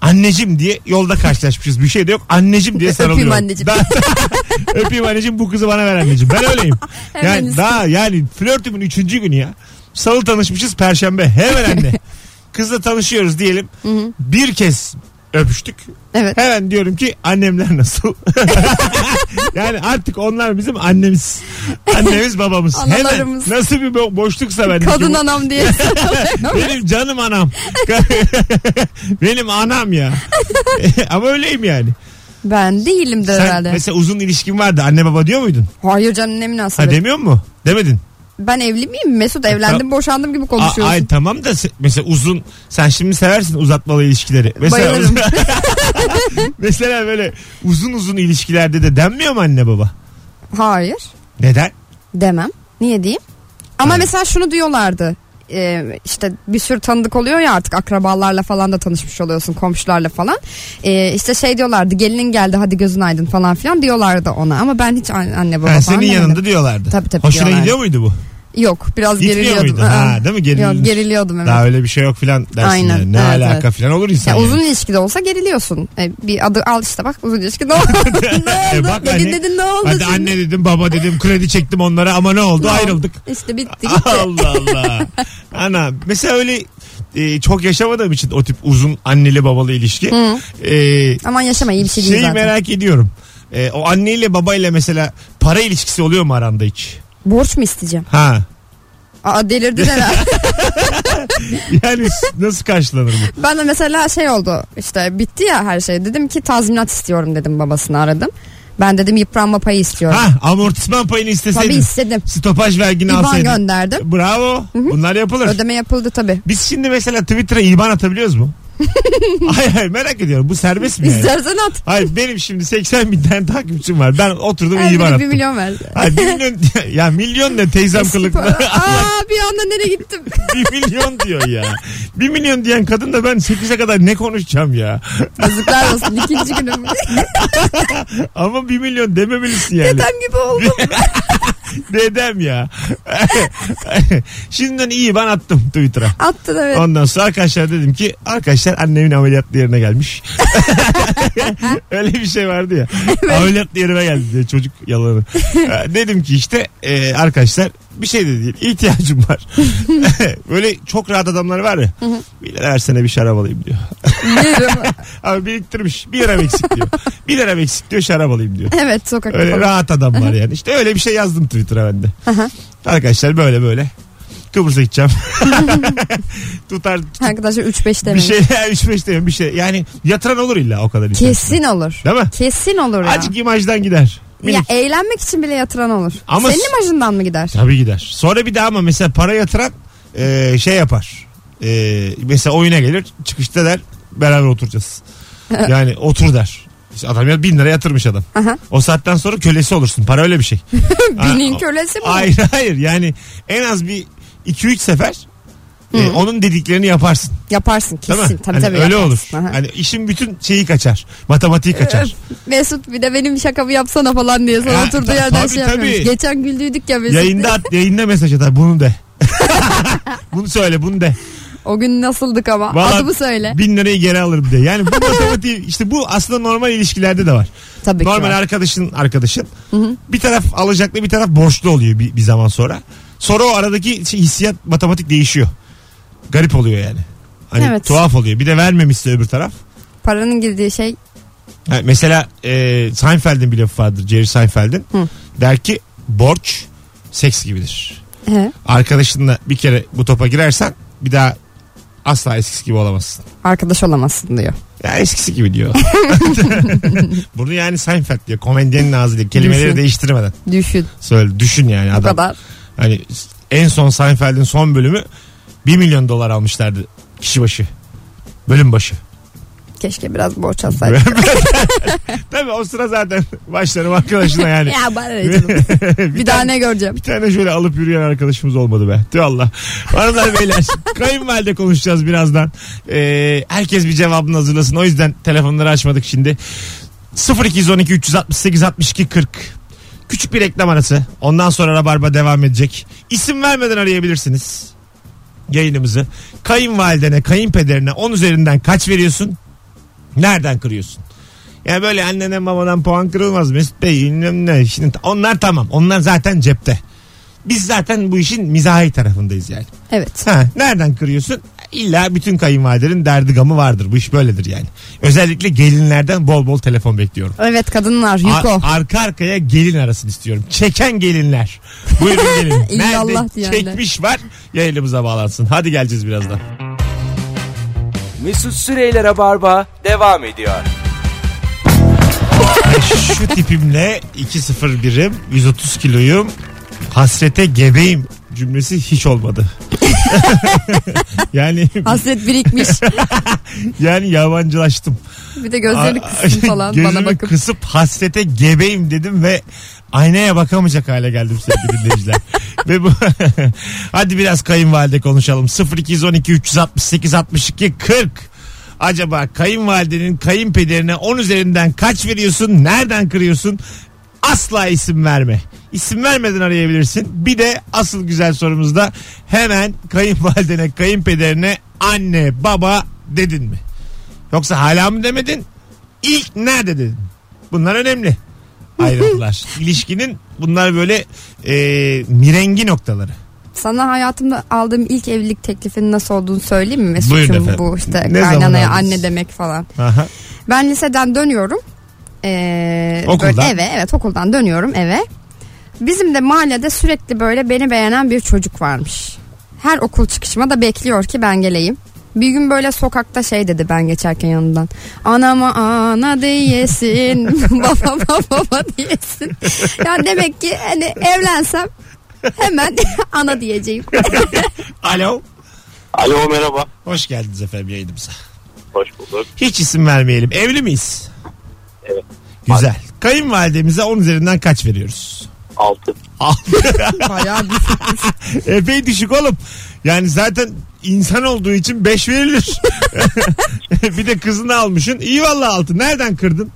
C: anneciğim diye yolda karşılaşmışız. Bir şey de yok. Anneciğim diye
D: Öpeyim
C: sarılıyorum.
D: anneciğim.
C: Daha- öpeyim anneciğim bu kızı bana ver anneciğim. Ben öyleyim.
D: Hemen
C: Yani
D: üstüne.
C: daha yani flörtümün 3. günü ya. Salı tanışmışız perşembe. Hemen anne. Kızla tanışıyoruz diyelim. Bir kez öpüştük.
D: Evet.
C: Hemen diyorum ki annemler nasıl? yani artık onlar bizim annemiz. Annemiz babamız. Hemen
D: Analarımız.
C: nasıl bir bo- boşluksa bendeki
D: Kadın
C: bu-
D: anam diye.
C: benim canım anam. Benim anam ya. Ama öyleyim yani.
D: ben değilim de
C: Sen
D: herhalde.
C: mesela uzun ilişkin vardı. Anne baba diyor muydun?
D: Hayır canım ne münasebet.
C: Ha demiyor mu? Demedin.
D: Ben evli miyim? Mesut evlendim boşandım gibi
C: A-
D: konuşuyorsun.
C: ay tamam da se- mesela uzun sen şimdi seversin uzatmalı ilişkileri. Mesela
D: Bayılırım.
C: mesela böyle uzun uzun ilişkilerde de denmiyor mu anne baba?
D: Hayır
C: Neden?
D: demem. Niye diyeyim? Ama mesela şunu diyorlardı. e, işte bir sürü tanıdık oluyor ya artık akrabalarla falan da tanışmış oluyorsun komşularla falan. E, işte şey diyorlardı gelinin geldi hadi gözün aydın falan filan diyorlardı ona ama ben hiç an- anne baba
C: Ha,
D: falan
C: senin
D: demedim.
C: yanında diyorlardı.
D: Tabii, tabii
C: Hoşuna
D: diyorlardı.
C: gidiyor muydu bu?
D: Yok biraz
C: Gitmiyor
D: geriliyordum.
C: muydu? Ha,
D: Aa.
C: değil mi? Gerilmiş.
D: Yok, geriliyordum evet.
C: Daha öyle bir şey yok filan dersin
D: Aynen,
C: yani. Ne
D: evet,
C: alaka
D: evet.
C: filan olur insan.
D: Ya
C: yani.
D: uzun ilişkide olsa geriliyorsun. E, bir adı al işte bak uzun ilişki ne oldu? ne oldu?
C: E bak
D: dedin
C: hani-
D: dedin ne oldu?
C: Hadi
D: şimdi?
C: anne dedim baba dedim kredi çektim onlara ama ne oldu
D: Ne oldu?
C: ayrıldık.
D: İşte bitti gitti.
C: Allah Allah. Ana mesela öyle e, çok yaşamadığım için o tip uzun anneli babalı ilişki. E,
D: Aman yaşama iyi bir şey değil
C: şeyi
D: zaten.
C: merak ediyorum. E, o anneyle babayla mesela para ilişkisi oluyor mu aranda hiç?
D: Borç mu isteyeceğim?
C: Ha.
D: Aa delirdi herhalde.
C: Yani s- nasıl karşılanır bu?
D: ben de mesela şey oldu işte bitti ya her şey. Dedim ki tazminat istiyorum dedim babasını aradım. Ben dedim yıpranma payı istiyorum.
C: Ha amortisman payını
D: Tabii
C: isteseydin.
D: istedim.
C: Stopaj vergini
D: İban
C: alsaydın.
D: gönderdim.
C: Bravo. Bunlar yapılır.
D: Ödeme yapıldı tabii.
C: Biz şimdi mesela Twitter'a iban atabiliyoruz mu? hayır hayır merak ediyorum. Bu serbest mi yani?
D: İstersen at.
C: Hayır benim şimdi 80 bin tane takipçim var. Ben oturdum
D: Her
C: iban
D: biri
C: attım.
D: bir milyon verdi.
C: Hayır, bir milyon, ya milyon ne teyzem kılıklı.
D: Aa bir anda nereye gittim?
C: bir milyon diyor ya. Bir milyon diyen kadın da ben 8'e kadar ne konuşacağım ya.
D: Yazıklar olsun ikinci günüm.
C: Ama bir milyon dememelisin yani.
D: Dedem gibi oldum.
C: Dedem ya. Şimdiden iyi ben attım Twitter'a.
D: Attın evet.
C: Ondan sonra arkadaşlar dedim ki arkadaşlar annemin ameliyatlı yerine gelmiş. Öyle bir şey vardı ya. Ameliyatlı yerime geldi diye çocuk yalanı. Ee, dedim ki işte e, arkadaşlar bir şey de değil ihtiyacım var. Böyle çok rahat adamlar var ya. bir lira versene bir şarap alayım diyor.
D: Bilirim.
C: Abi biriktirmiş bir lira eksik diyor. Bir lira eksik diyor şarap alayım diyor.
D: Evet sokakta
C: Öyle
D: falan.
C: rahat adamlar yani. İşte öyle bir şey yazdım Twitter'a ben de. Arkadaşlar böyle böyle. Kıbrıs'a gideceğim. Tutar şey,
D: Arkadaşlar 3-5
C: bir
D: demeyin.
C: şeyler 3 5 demiyorum bir şey. Yani yatıran olur illa o kadar. insan.
D: Kesin olur.
C: Değil mi?
D: Kesin olur ya.
C: Azıcık imajdan gider.
D: Ya
C: Minik.
D: eğlenmek için bile yatıran olur.
C: Ama-
D: Senin imajından mı gider?
C: Tabii gider. Sonra bir daha ama mesela para yatıran e, şey yapar. E, mesela oyuna gelir çıkışta der beraber oturacağız. Yani otur der. İşte adam ya bin lira yatırmış adam.
D: Aha.
C: O saatten sonra kölesi olursun. Para öyle bir şey.
D: Binin
C: Ha,
D: kölesi mi?
C: Hayır hayır yani en az bir 2-3 sefer e, onun dediklerini yaparsın.
D: Yaparsın
C: Değil
D: kesin.
C: mi?
D: Tabii
C: Hani
D: tabii.
C: öyle
D: yaparsın.
C: olur.
D: Aha.
C: Hani işin bütün şeyi kaçar. Matematiği kaçar.
D: Mesut bir de benim şakamı yapsana falan diye
C: Ya,
D: sana oturduğu
C: ta-
D: yerden
C: tabii,
D: şey yapıyormuş.
C: tabii.
D: Geçen güldüydük ya Mesut.
C: Yayında at, yayında mesaj atar. Bunu de. bunu söyle bunu de.
D: O gün nasıldık ama.
C: Vallahi
D: Adımı söyle.
C: Bin lirayı geri alırım de. Yani bu matematiği işte bu aslında normal ilişkilerde de var.
D: Tabii ki.
C: normal
D: var.
C: arkadaşın arkadaşın. Bir taraf alacaklı bir taraf borçlu oluyor bir, bir zaman sonra. Sonra o aradaki şey, hissiyat matematik değişiyor. Garip oluyor yani. Hani
D: Evet.
C: tuhaf oluyor. Bir de vermemişse öbür taraf.
D: Paranın girdiği şey
C: Ha, mesela e, Seinfeld'in bir lafı vardır. Jerry Seinfeld'in.
D: Hı.
C: Der ki borç seks gibidir.
D: he,
C: Arkadaşınla bir kere bu topa girersen bir daha asla eskisi gibi olamazsın.
D: arkadaş olamazsın diyor.
C: Ya eskisi gibi diyor. Bunu yani Seinfeld diyor. Komedyenin ağzıyla kelimeleri
D: Düşün.
C: değiştirmeden
D: Düşün.
C: söyle. Düşün yani
D: Bu
C: adam.
D: kadar.
C: Hani en son Seinfeld'in son bölümü 1 milyon dolar almışlardı kişi başı. Bölüm başı.
D: Keşke biraz borç alsaydım.
C: Tabii o sıra zaten başlarım arkadaşına yani.
D: ya bana ne canım.
C: bir,
D: Bir daha
C: tane,
D: ne göreceğim?
C: bir tane şöyle alıp yürüyen arkadaşımız olmadı be. Tüh Allah. Hanımlar beyler kayınvalide konuşacağız birazdan. Ee, herkes bir cevabını hazırlasın. O yüzden telefonları açmadık şimdi. 0212 368 62 40 Küçük bir reklam arası. Ondan sonra Rabarba devam edecek. İsim vermeden arayabilirsiniz yayınımızı. Kayınvalidene, kayınpederine 10 üzerinden kaç veriyorsun? Nereden kırıyorsun? Ya böyle annenden babadan puan kırılmaz Mesut Bey bilmem ne. Şimdi onlar tamam. Onlar zaten cepte. Biz zaten bu işin mizahi tarafındayız yani.
D: Evet.
C: Ha, nereden kırıyorsun? İlla bütün kayınvalidenin derdi gamı vardır. Bu iş böyledir yani. Özellikle gelinlerden bol bol telefon bekliyorum.
D: Evet kadınlar Yuko.
C: Ar- arka arkaya gelin arasın istiyorum. Çeken gelinler. Buyurun gelin.
D: İllallah
C: Nerede
D: diyenler.
C: çekmiş var yayınımıza bağlansın. Hadi geleceğiz birazdan.
A: Mesut Süreyler'e barba devam ediyor.
C: Şu tipimle 2.0 birim 130 kiloyum hasrete gebeyim cümlesi hiç olmadı. yani
D: Hasret birikmiş.
C: yani yabancılaştım.
D: Bir de gözlerini
C: Aa,
D: kısın falan
C: gözümü
D: bana bakıp.
C: kısıp hasrete gebeyim dedim ve aynaya bakamayacak hale geldim sevgili dinleyiciler. Ve bu hadi biraz kayınvalide konuşalım. 0212 368 62 40. Acaba kayınvalidenin kayınpederine 10 üzerinden kaç veriyorsun? Nereden kırıyorsun? Asla isim verme. İsim vermeden arayabilirsin. Bir de asıl güzel sorumuzda hemen kayınvalidene, kayınpederine anne, baba dedin mi? Yoksa hala mı demedin? İlk nerede dedin? Bunlar önemli. Ayrıntılar. İlişkinin bunlar böyle e, mirengi noktaları.
D: Sana hayatımda aldığım ilk evlilik teklifinin nasıl olduğunu söyleyeyim mi
C: Buyurun
D: Mesut'cum?
C: efendim.
D: Bu işte
C: Ne zaman
D: kaynanaya
C: aldınız?
D: anne demek falan.
C: Aha.
D: Ben liseden dönüyorum. Ee,
C: Okuldan.
D: böyle eve evet okuldan dönüyorum eve. Bizim de mahallede sürekli böyle beni beğenen bir çocuk varmış. Her okul çıkışıma da bekliyor ki ben geleyim. Bir gün böyle sokakta şey dedi ben geçerken yanından. Anama ana diyesin. babama baba diyesin. Yani demek ki hani evlensem hemen ana diyeceğim.
C: Alo.
J: Alo merhaba.
C: Hoş geldiniz efendim yayınımıza.
J: Hoş bulduk.
C: Hiç isim vermeyelim. Evli miyiz?
J: Evet.
C: Güzel. Kayınvalidemize 10 üzerinden kaç veriyoruz?
J: 6.
D: Bayağı
C: Epey düşük oğlum. Yani zaten insan olduğu için 5 verilir. bir de kızını almışsın. İyi vallahi altı. Nereden kırdın?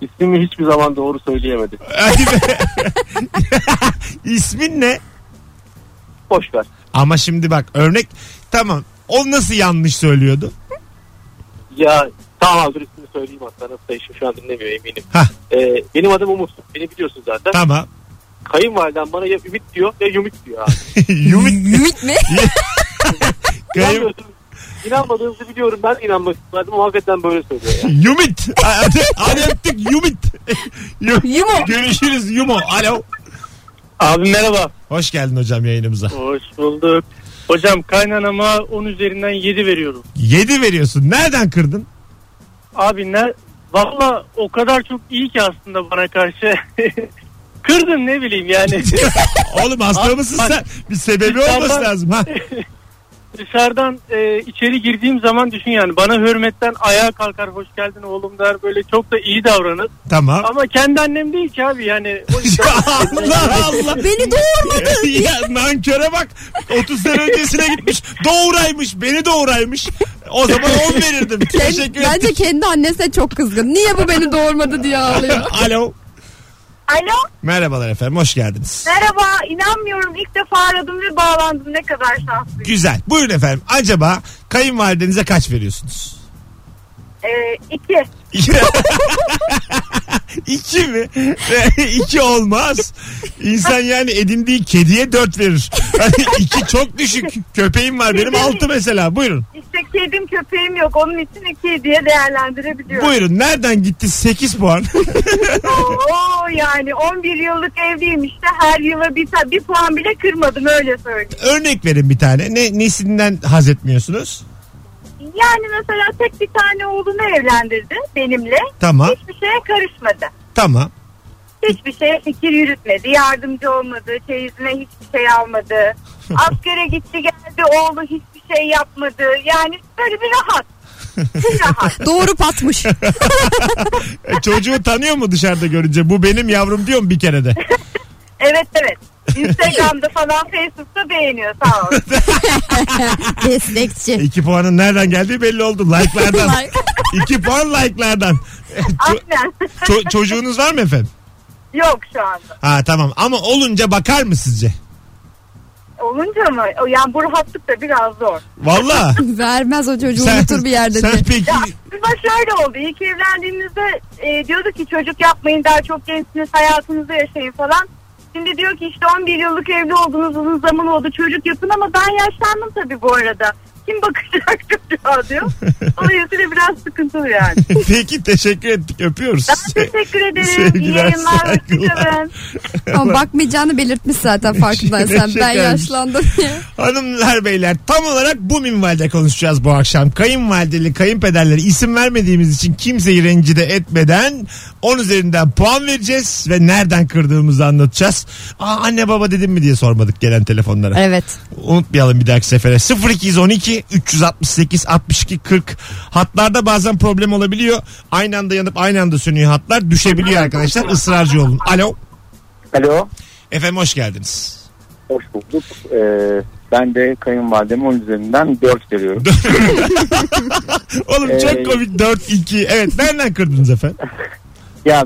J: İsmimi hiçbir zaman doğru söyleyemedim.
C: Hadi be. İsmin ne?
J: Boş ver.
C: Ama şimdi bak örnek tamam. O nasıl yanlış söylüyordu?
J: Ya tamam hazır ismini söyleyeyim hatta nasıl değişim şu an dinlemiyor eminim.
C: Hah.
J: Ee, benim adım Umut. Beni biliyorsun zaten.
C: Tamam.
J: Kayınvalidem bana ya Ümit diyor ya Yumit diyor abi.
C: Yumit
D: Ümit mi?
C: kayın...
J: İnanmıyorsunuz. İnanmadığınızı biliyorum ben inanmak isterdim ama hakikaten böyle söylüyor. Yani.
C: Yumit. Hadi, hadi öptük Yumit. Yum-
D: Yumo.
C: Görüşürüz Yumo. Alo.
J: Abi merhaba.
C: Hoş geldin hocam yayınımıza.
J: Hoş bulduk. Hocam kaynanama 10 üzerinden 7 veriyorum.
C: 7 veriyorsun. Nereden kırdın?
J: Abi ne? Valla o kadar çok iyi ki aslında bana karşı. Kırdın ne bileyim yani.
C: Oğlum hasta
J: Abi
C: mısın
J: bak-
C: sen? Bir sebebi olması
J: Dışarıdan-
C: lazım. Ha.
J: Dışarıdan e, içeri girdiğim zaman düşün yani bana hürmetten ayağa kalkar hoş geldin oğlum der böyle çok da iyi davranır.
C: Tamam.
J: Ama kendi annem değil ki abi yani. O yüzden-
C: Allah Allah.
D: Beni doğurmadı.
C: ya nanköre bak 30 sene öncesine gitmiş doğuraymış beni doğuraymış o zaman 10 verirdim teşekkür ederim
D: Bence kendi annesine çok kızgın. Niye bu beni doğurmadı diye ağlıyor.
C: alo
F: Alo
C: merhabalar efendim hoş geldiniz
F: merhaba inanmıyorum ilk defa aradım ve bağlandım ne kadar şanslıyım.
C: güzel buyurun efendim acaba kayınvalidenize kaç veriyorsunuz
F: Ee, iki.
C: İki mi? iki olmaz. İnsan yani edindiği kediye dört verir. Hani iki çok düşük. Köpeğim var benim altı mesela. Buyurun.
F: İşte kedim köpeğim yok onun için iki diye değerlendirebiliyorum.
C: Buyurun. Nereden gitti? Sekiz puan.
F: Oo yani 11 yıllık evliyim işte her yıla bir, ta- bir puan bile kırmadım öyle söyleyeyim.
C: Örnek verin bir tane. Ne, nesinden haz etmiyorsunuz?
F: Yani mesela tek bir tane oğlunu evlendirdi benimle.
C: Tamam.
F: Hiçbir şeye karışmadı.
C: Tamam.
F: Hiçbir şeye fikir yürütmedi. Yardımcı olmadı. Çeyizine hiçbir şey almadı. Askere gitti geldi oğlu hiçbir şey yapmadı. Yani böyle bir rahat. Bir rahat.
D: Doğru patmış.
C: E, çocuğu tanıyor mu dışarıda görünce? Bu benim yavrum diyor mu bir kere de?
F: Evet evet. Instagram'da falan Facebook'ta beğeniyor sağ ol.
D: Destekçi.
C: İki puanın nereden geldiği belli oldu. Like'lardan. İki puan like'lardan. E,
D: Ah.
C: ço-
F: Aynen.
C: ço- çocuğunuz var mı efendim?
F: Yok şu anda.
C: Ha tamam ama olunca bakar mı sizce?
F: Olunca mı? Yani bu rahatlık da biraz zor.
C: Valla.
D: Vermez o çocuğu unutur bir yerde.
C: Sen
D: diye.
C: peki
F: Ya aslında şöyle oldu. İlk evlendiğimizde e, diyordu ki çocuk yapmayın daha çok gençsiniz hayatınızı yaşayın falan. Şimdi diyor ki işte 11 yıllık evli oldunuz uzun zaman oldu çocuk yapın ama ben yaşlandım tabii bu arada. Kim bakacak çocuğa diyor. Dolayısıyla biraz sıkıntılı yani.
C: peki teşekkür ettik öpüyoruz. Şey,
F: Ben teşekkür ederim. İyi
C: Sevgiler,
F: yayınlar.
C: saygılar.
F: Hoşçakalın.
D: Ama bakmayacağını belirtmiş zaten farkındaysan.
C: Şekermiş.
D: ben yaşlandım diye.
C: Hanımlar beyler tam olarak bu minvalde konuşacağız bu akşam. Kayınvalideli kayınpederleri isim vermediğimiz için kimseyi rencide etmeden 10 üzerinden puan vereceğiz ve nereden kırdığımızı anlatacağız. Aa, anne baba dedim mi diye sormadık gelen telefonlara.
D: Evet.
C: Unutmayalım bir dahaki sefere. 0212 368 62 40 hatlarda bazen problem olabiliyor. Aynı anda yanıp aynı anda sönüyor hatlar. Düşebiliyor arkadaşlar. Israrcı olun. Alo.
J: Alo.
C: Efendim hoş geldiniz.
J: Hoş bulduk. Ee, ben de kayınvalideme 10 üzerinden 4 veriyorum.
C: Oğlum
J: Ee,
C: çok komik 4-2. Evet nereden kırdınız efendim?
J: ya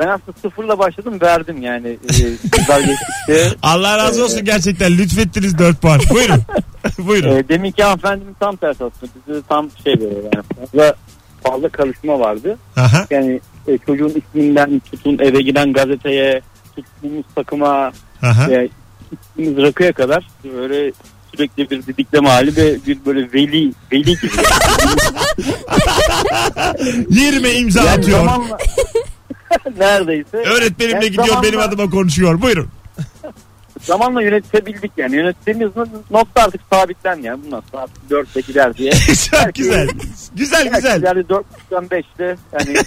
J: ben aslında sıfırla başladım verdim yani. Ee, kızlar geçtikçe.
C: Allah razı olsun gerçekten lütfettiniz 4 puan. Buyurun. Buyurun.
J: Ee, demin ki hanımefendinin tam tersi aslında. Bizi tam şey böyle yani fazla, fazla karışma vardı.
C: Aha.
J: Yani e, çocuğun isminden tutun eve giden gazeteye tuttuğumuz takıma
C: Aha.
J: e, tuttuğumuz rakıya kadar böyle sürekli bir didikleme hali ve bir böyle veli veli gibi.
C: 20 imza atıyor.
J: zamanla- neredeyse.
C: Öğretmenimle
J: Yani
C: gidiyor benim
J: zamanla-
C: adıma konuşuyor. Buyurun.
J: zamanla yönetebildik yani. Yönettiğimiz nokta artık sabitlen yani. Bundan sonra 4'te gider diye.
C: Çok güzel. Güzel güzel.
J: Yani 4'ten 5'te yani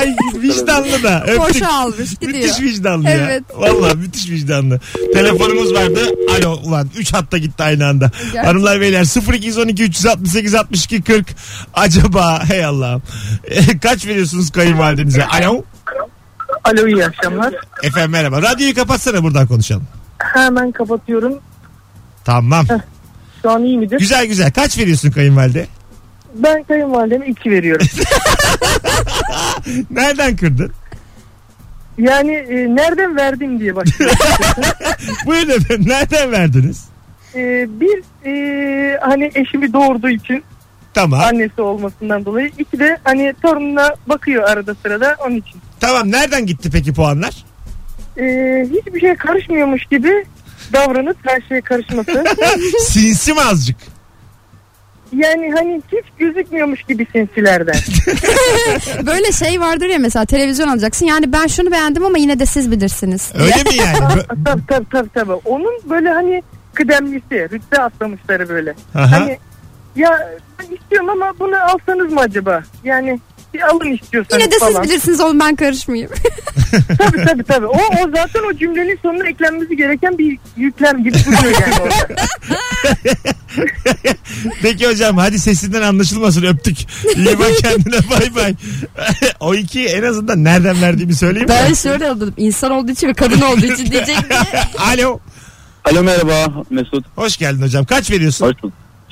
C: Ay vicdanlı da. Öptük.
D: Boşa almış gidiyor.
C: Müthiş vicdanlı
D: Evet.
C: ya. Valla müthiş vicdanlı. Telefonumuz vardı. Alo ulan 3 hatta gitti aynı anda.
D: Gerçekten.
C: Hanımlar beyler 0212 368 62 40 acaba hey Allah'ım Eh, kaç veriyorsunuz kayınvalidenize? Alo.
F: Alo iyi akşamlar.
C: Efendim merhaba. Radyoyu kapatsana buradan konuşalım.
F: Hemen kapatıyorum.
C: Tamam.
F: Şu an iyi midir?
C: Güzel güzel. Kaç veriyorsun kayınvalide?
F: Ben kayınvalideme 2 veriyorum.
C: Nereden kırdın?
F: yani e, nereden verdim diye başlıyorum.
C: Buyurun efendim. Nereden verdiniz?
F: E, bir e, hani eşimi doğurduğu için
C: Tamam.
F: annesi olmasından dolayı. iki de hani torununa bakıyor arada sırada onun için.
C: Tamam. Nereden gitti peki puanlar?
F: E, hiçbir şeye karışmıyormuş gibi davranıp her şeye karışması.
C: Sinsi mi azıcık?
F: yani hani hiç gözükmüyormuş gibi sinsilerden.
D: Böyle şey vardır ya mesela televizyon alacaksın. Yani ben şunu beğendim ama yine de siz bilirsiniz.
C: Öyle mi yani? Bö-
F: tabii tabii tabii tabii. Onun böyle hani kıdemlisi, rütbe atlamışları böyle.
C: Aha.
F: Hani ya ben istiyorum ama bunu alsanız mı acaba? Yani bir alın istiyorsanız
D: Yine de siz
F: falan.
D: bilirsiniz oğlum ben karışmayayım.
F: Tabii tabii tabii. O, o zaten o cümlenin sonuna eklenmesi gereken bir yüklem gibi duruyor yani orada.
C: Peki hocam hadi sesinden anlaşılmasın öptük. İyi bak kendine bay bay. o iki en azından nereden verdiğimi söyleyeyim mi?
D: ben şöyle oldum. İnsan olduğu için ve kadın olduğu için diyecek diye.
C: Alo.
J: Alo merhaba Mesut.
C: Hoş geldin hocam. Kaç veriyorsun?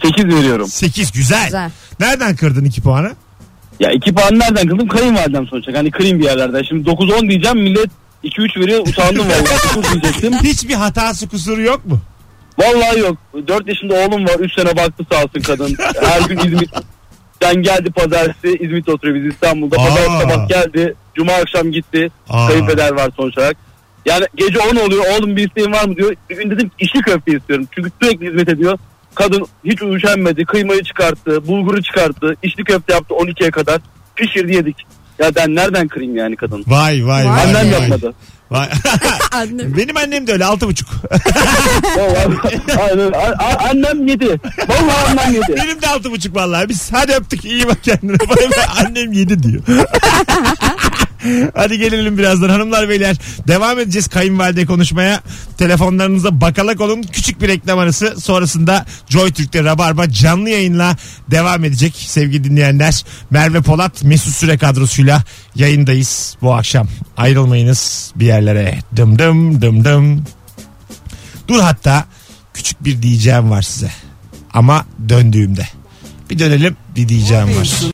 J: 8 veriyorum.
C: 8 güzel.
D: Güzel.
C: Nereden kırdın 2 puanı?
J: Ya iki puan nereden kıldım? Kayınvalidem sonuçta. Hani kırayım bir yerlerden. Şimdi 9-10 diyeceğim millet 2-3 veriyor. Utandım vallahi. 9 diyecektim.
C: Hiçbir hatası kusuru yok mu?
J: Vallahi yok. 4 yaşında oğlum var. 3 sene baktı sağ olsun kadın. Her gün İzmit. Sen geldi pazartesi İzmit'te oturuyor biz İstanbul'da. Pazar
C: Aa.
J: sabah geldi. Cuma akşam gitti.
C: Aa.
J: Kayınpeder var sonuç olarak. Yani gece 10 oluyor. Oğlum bir isteğin var mı diyor. Bir gün dedim ki işli köfte istiyorum. Çünkü sürekli hizmet ediyor. Kadın hiç üşenmedi. Kıymayı çıkarttı. Bulguru çıkarttı. İşli köfte yaptı 12'ye kadar. Pişirdi yedik. Ya ben nereden kırayım yani kadın?
C: Vay vay vay.
D: Vay.
J: Annem
C: vay.
J: yapmadı.
C: Vay.
D: Annem.
C: Benim annem de öyle 6,5.
J: Vallahi- Aynen. A- a- annem yedi. Vallahi annem yedi.
C: Benim de 6,5 vallahi. Biz hadi öptük iyi bak kendine. Bay bay. annem 7 diyor. Hadi gelelim birazdan hanımlar beyler. Devam edeceğiz kayınvalide konuşmaya. Telefonlarınıza bakalak olun. Küçük bir reklam arası sonrasında Joy Türk'te Rabarba canlı yayınla devam edecek sevgili dinleyenler. Merve Polat Mesut Süre kadrosuyla yayındayız bu akşam. Ayrılmayınız bir yerlere. Dım dım dım dım. Dur hatta küçük bir diyeceğim var size. Ama döndüğümde. Bir dönelim bir diyeceğim var.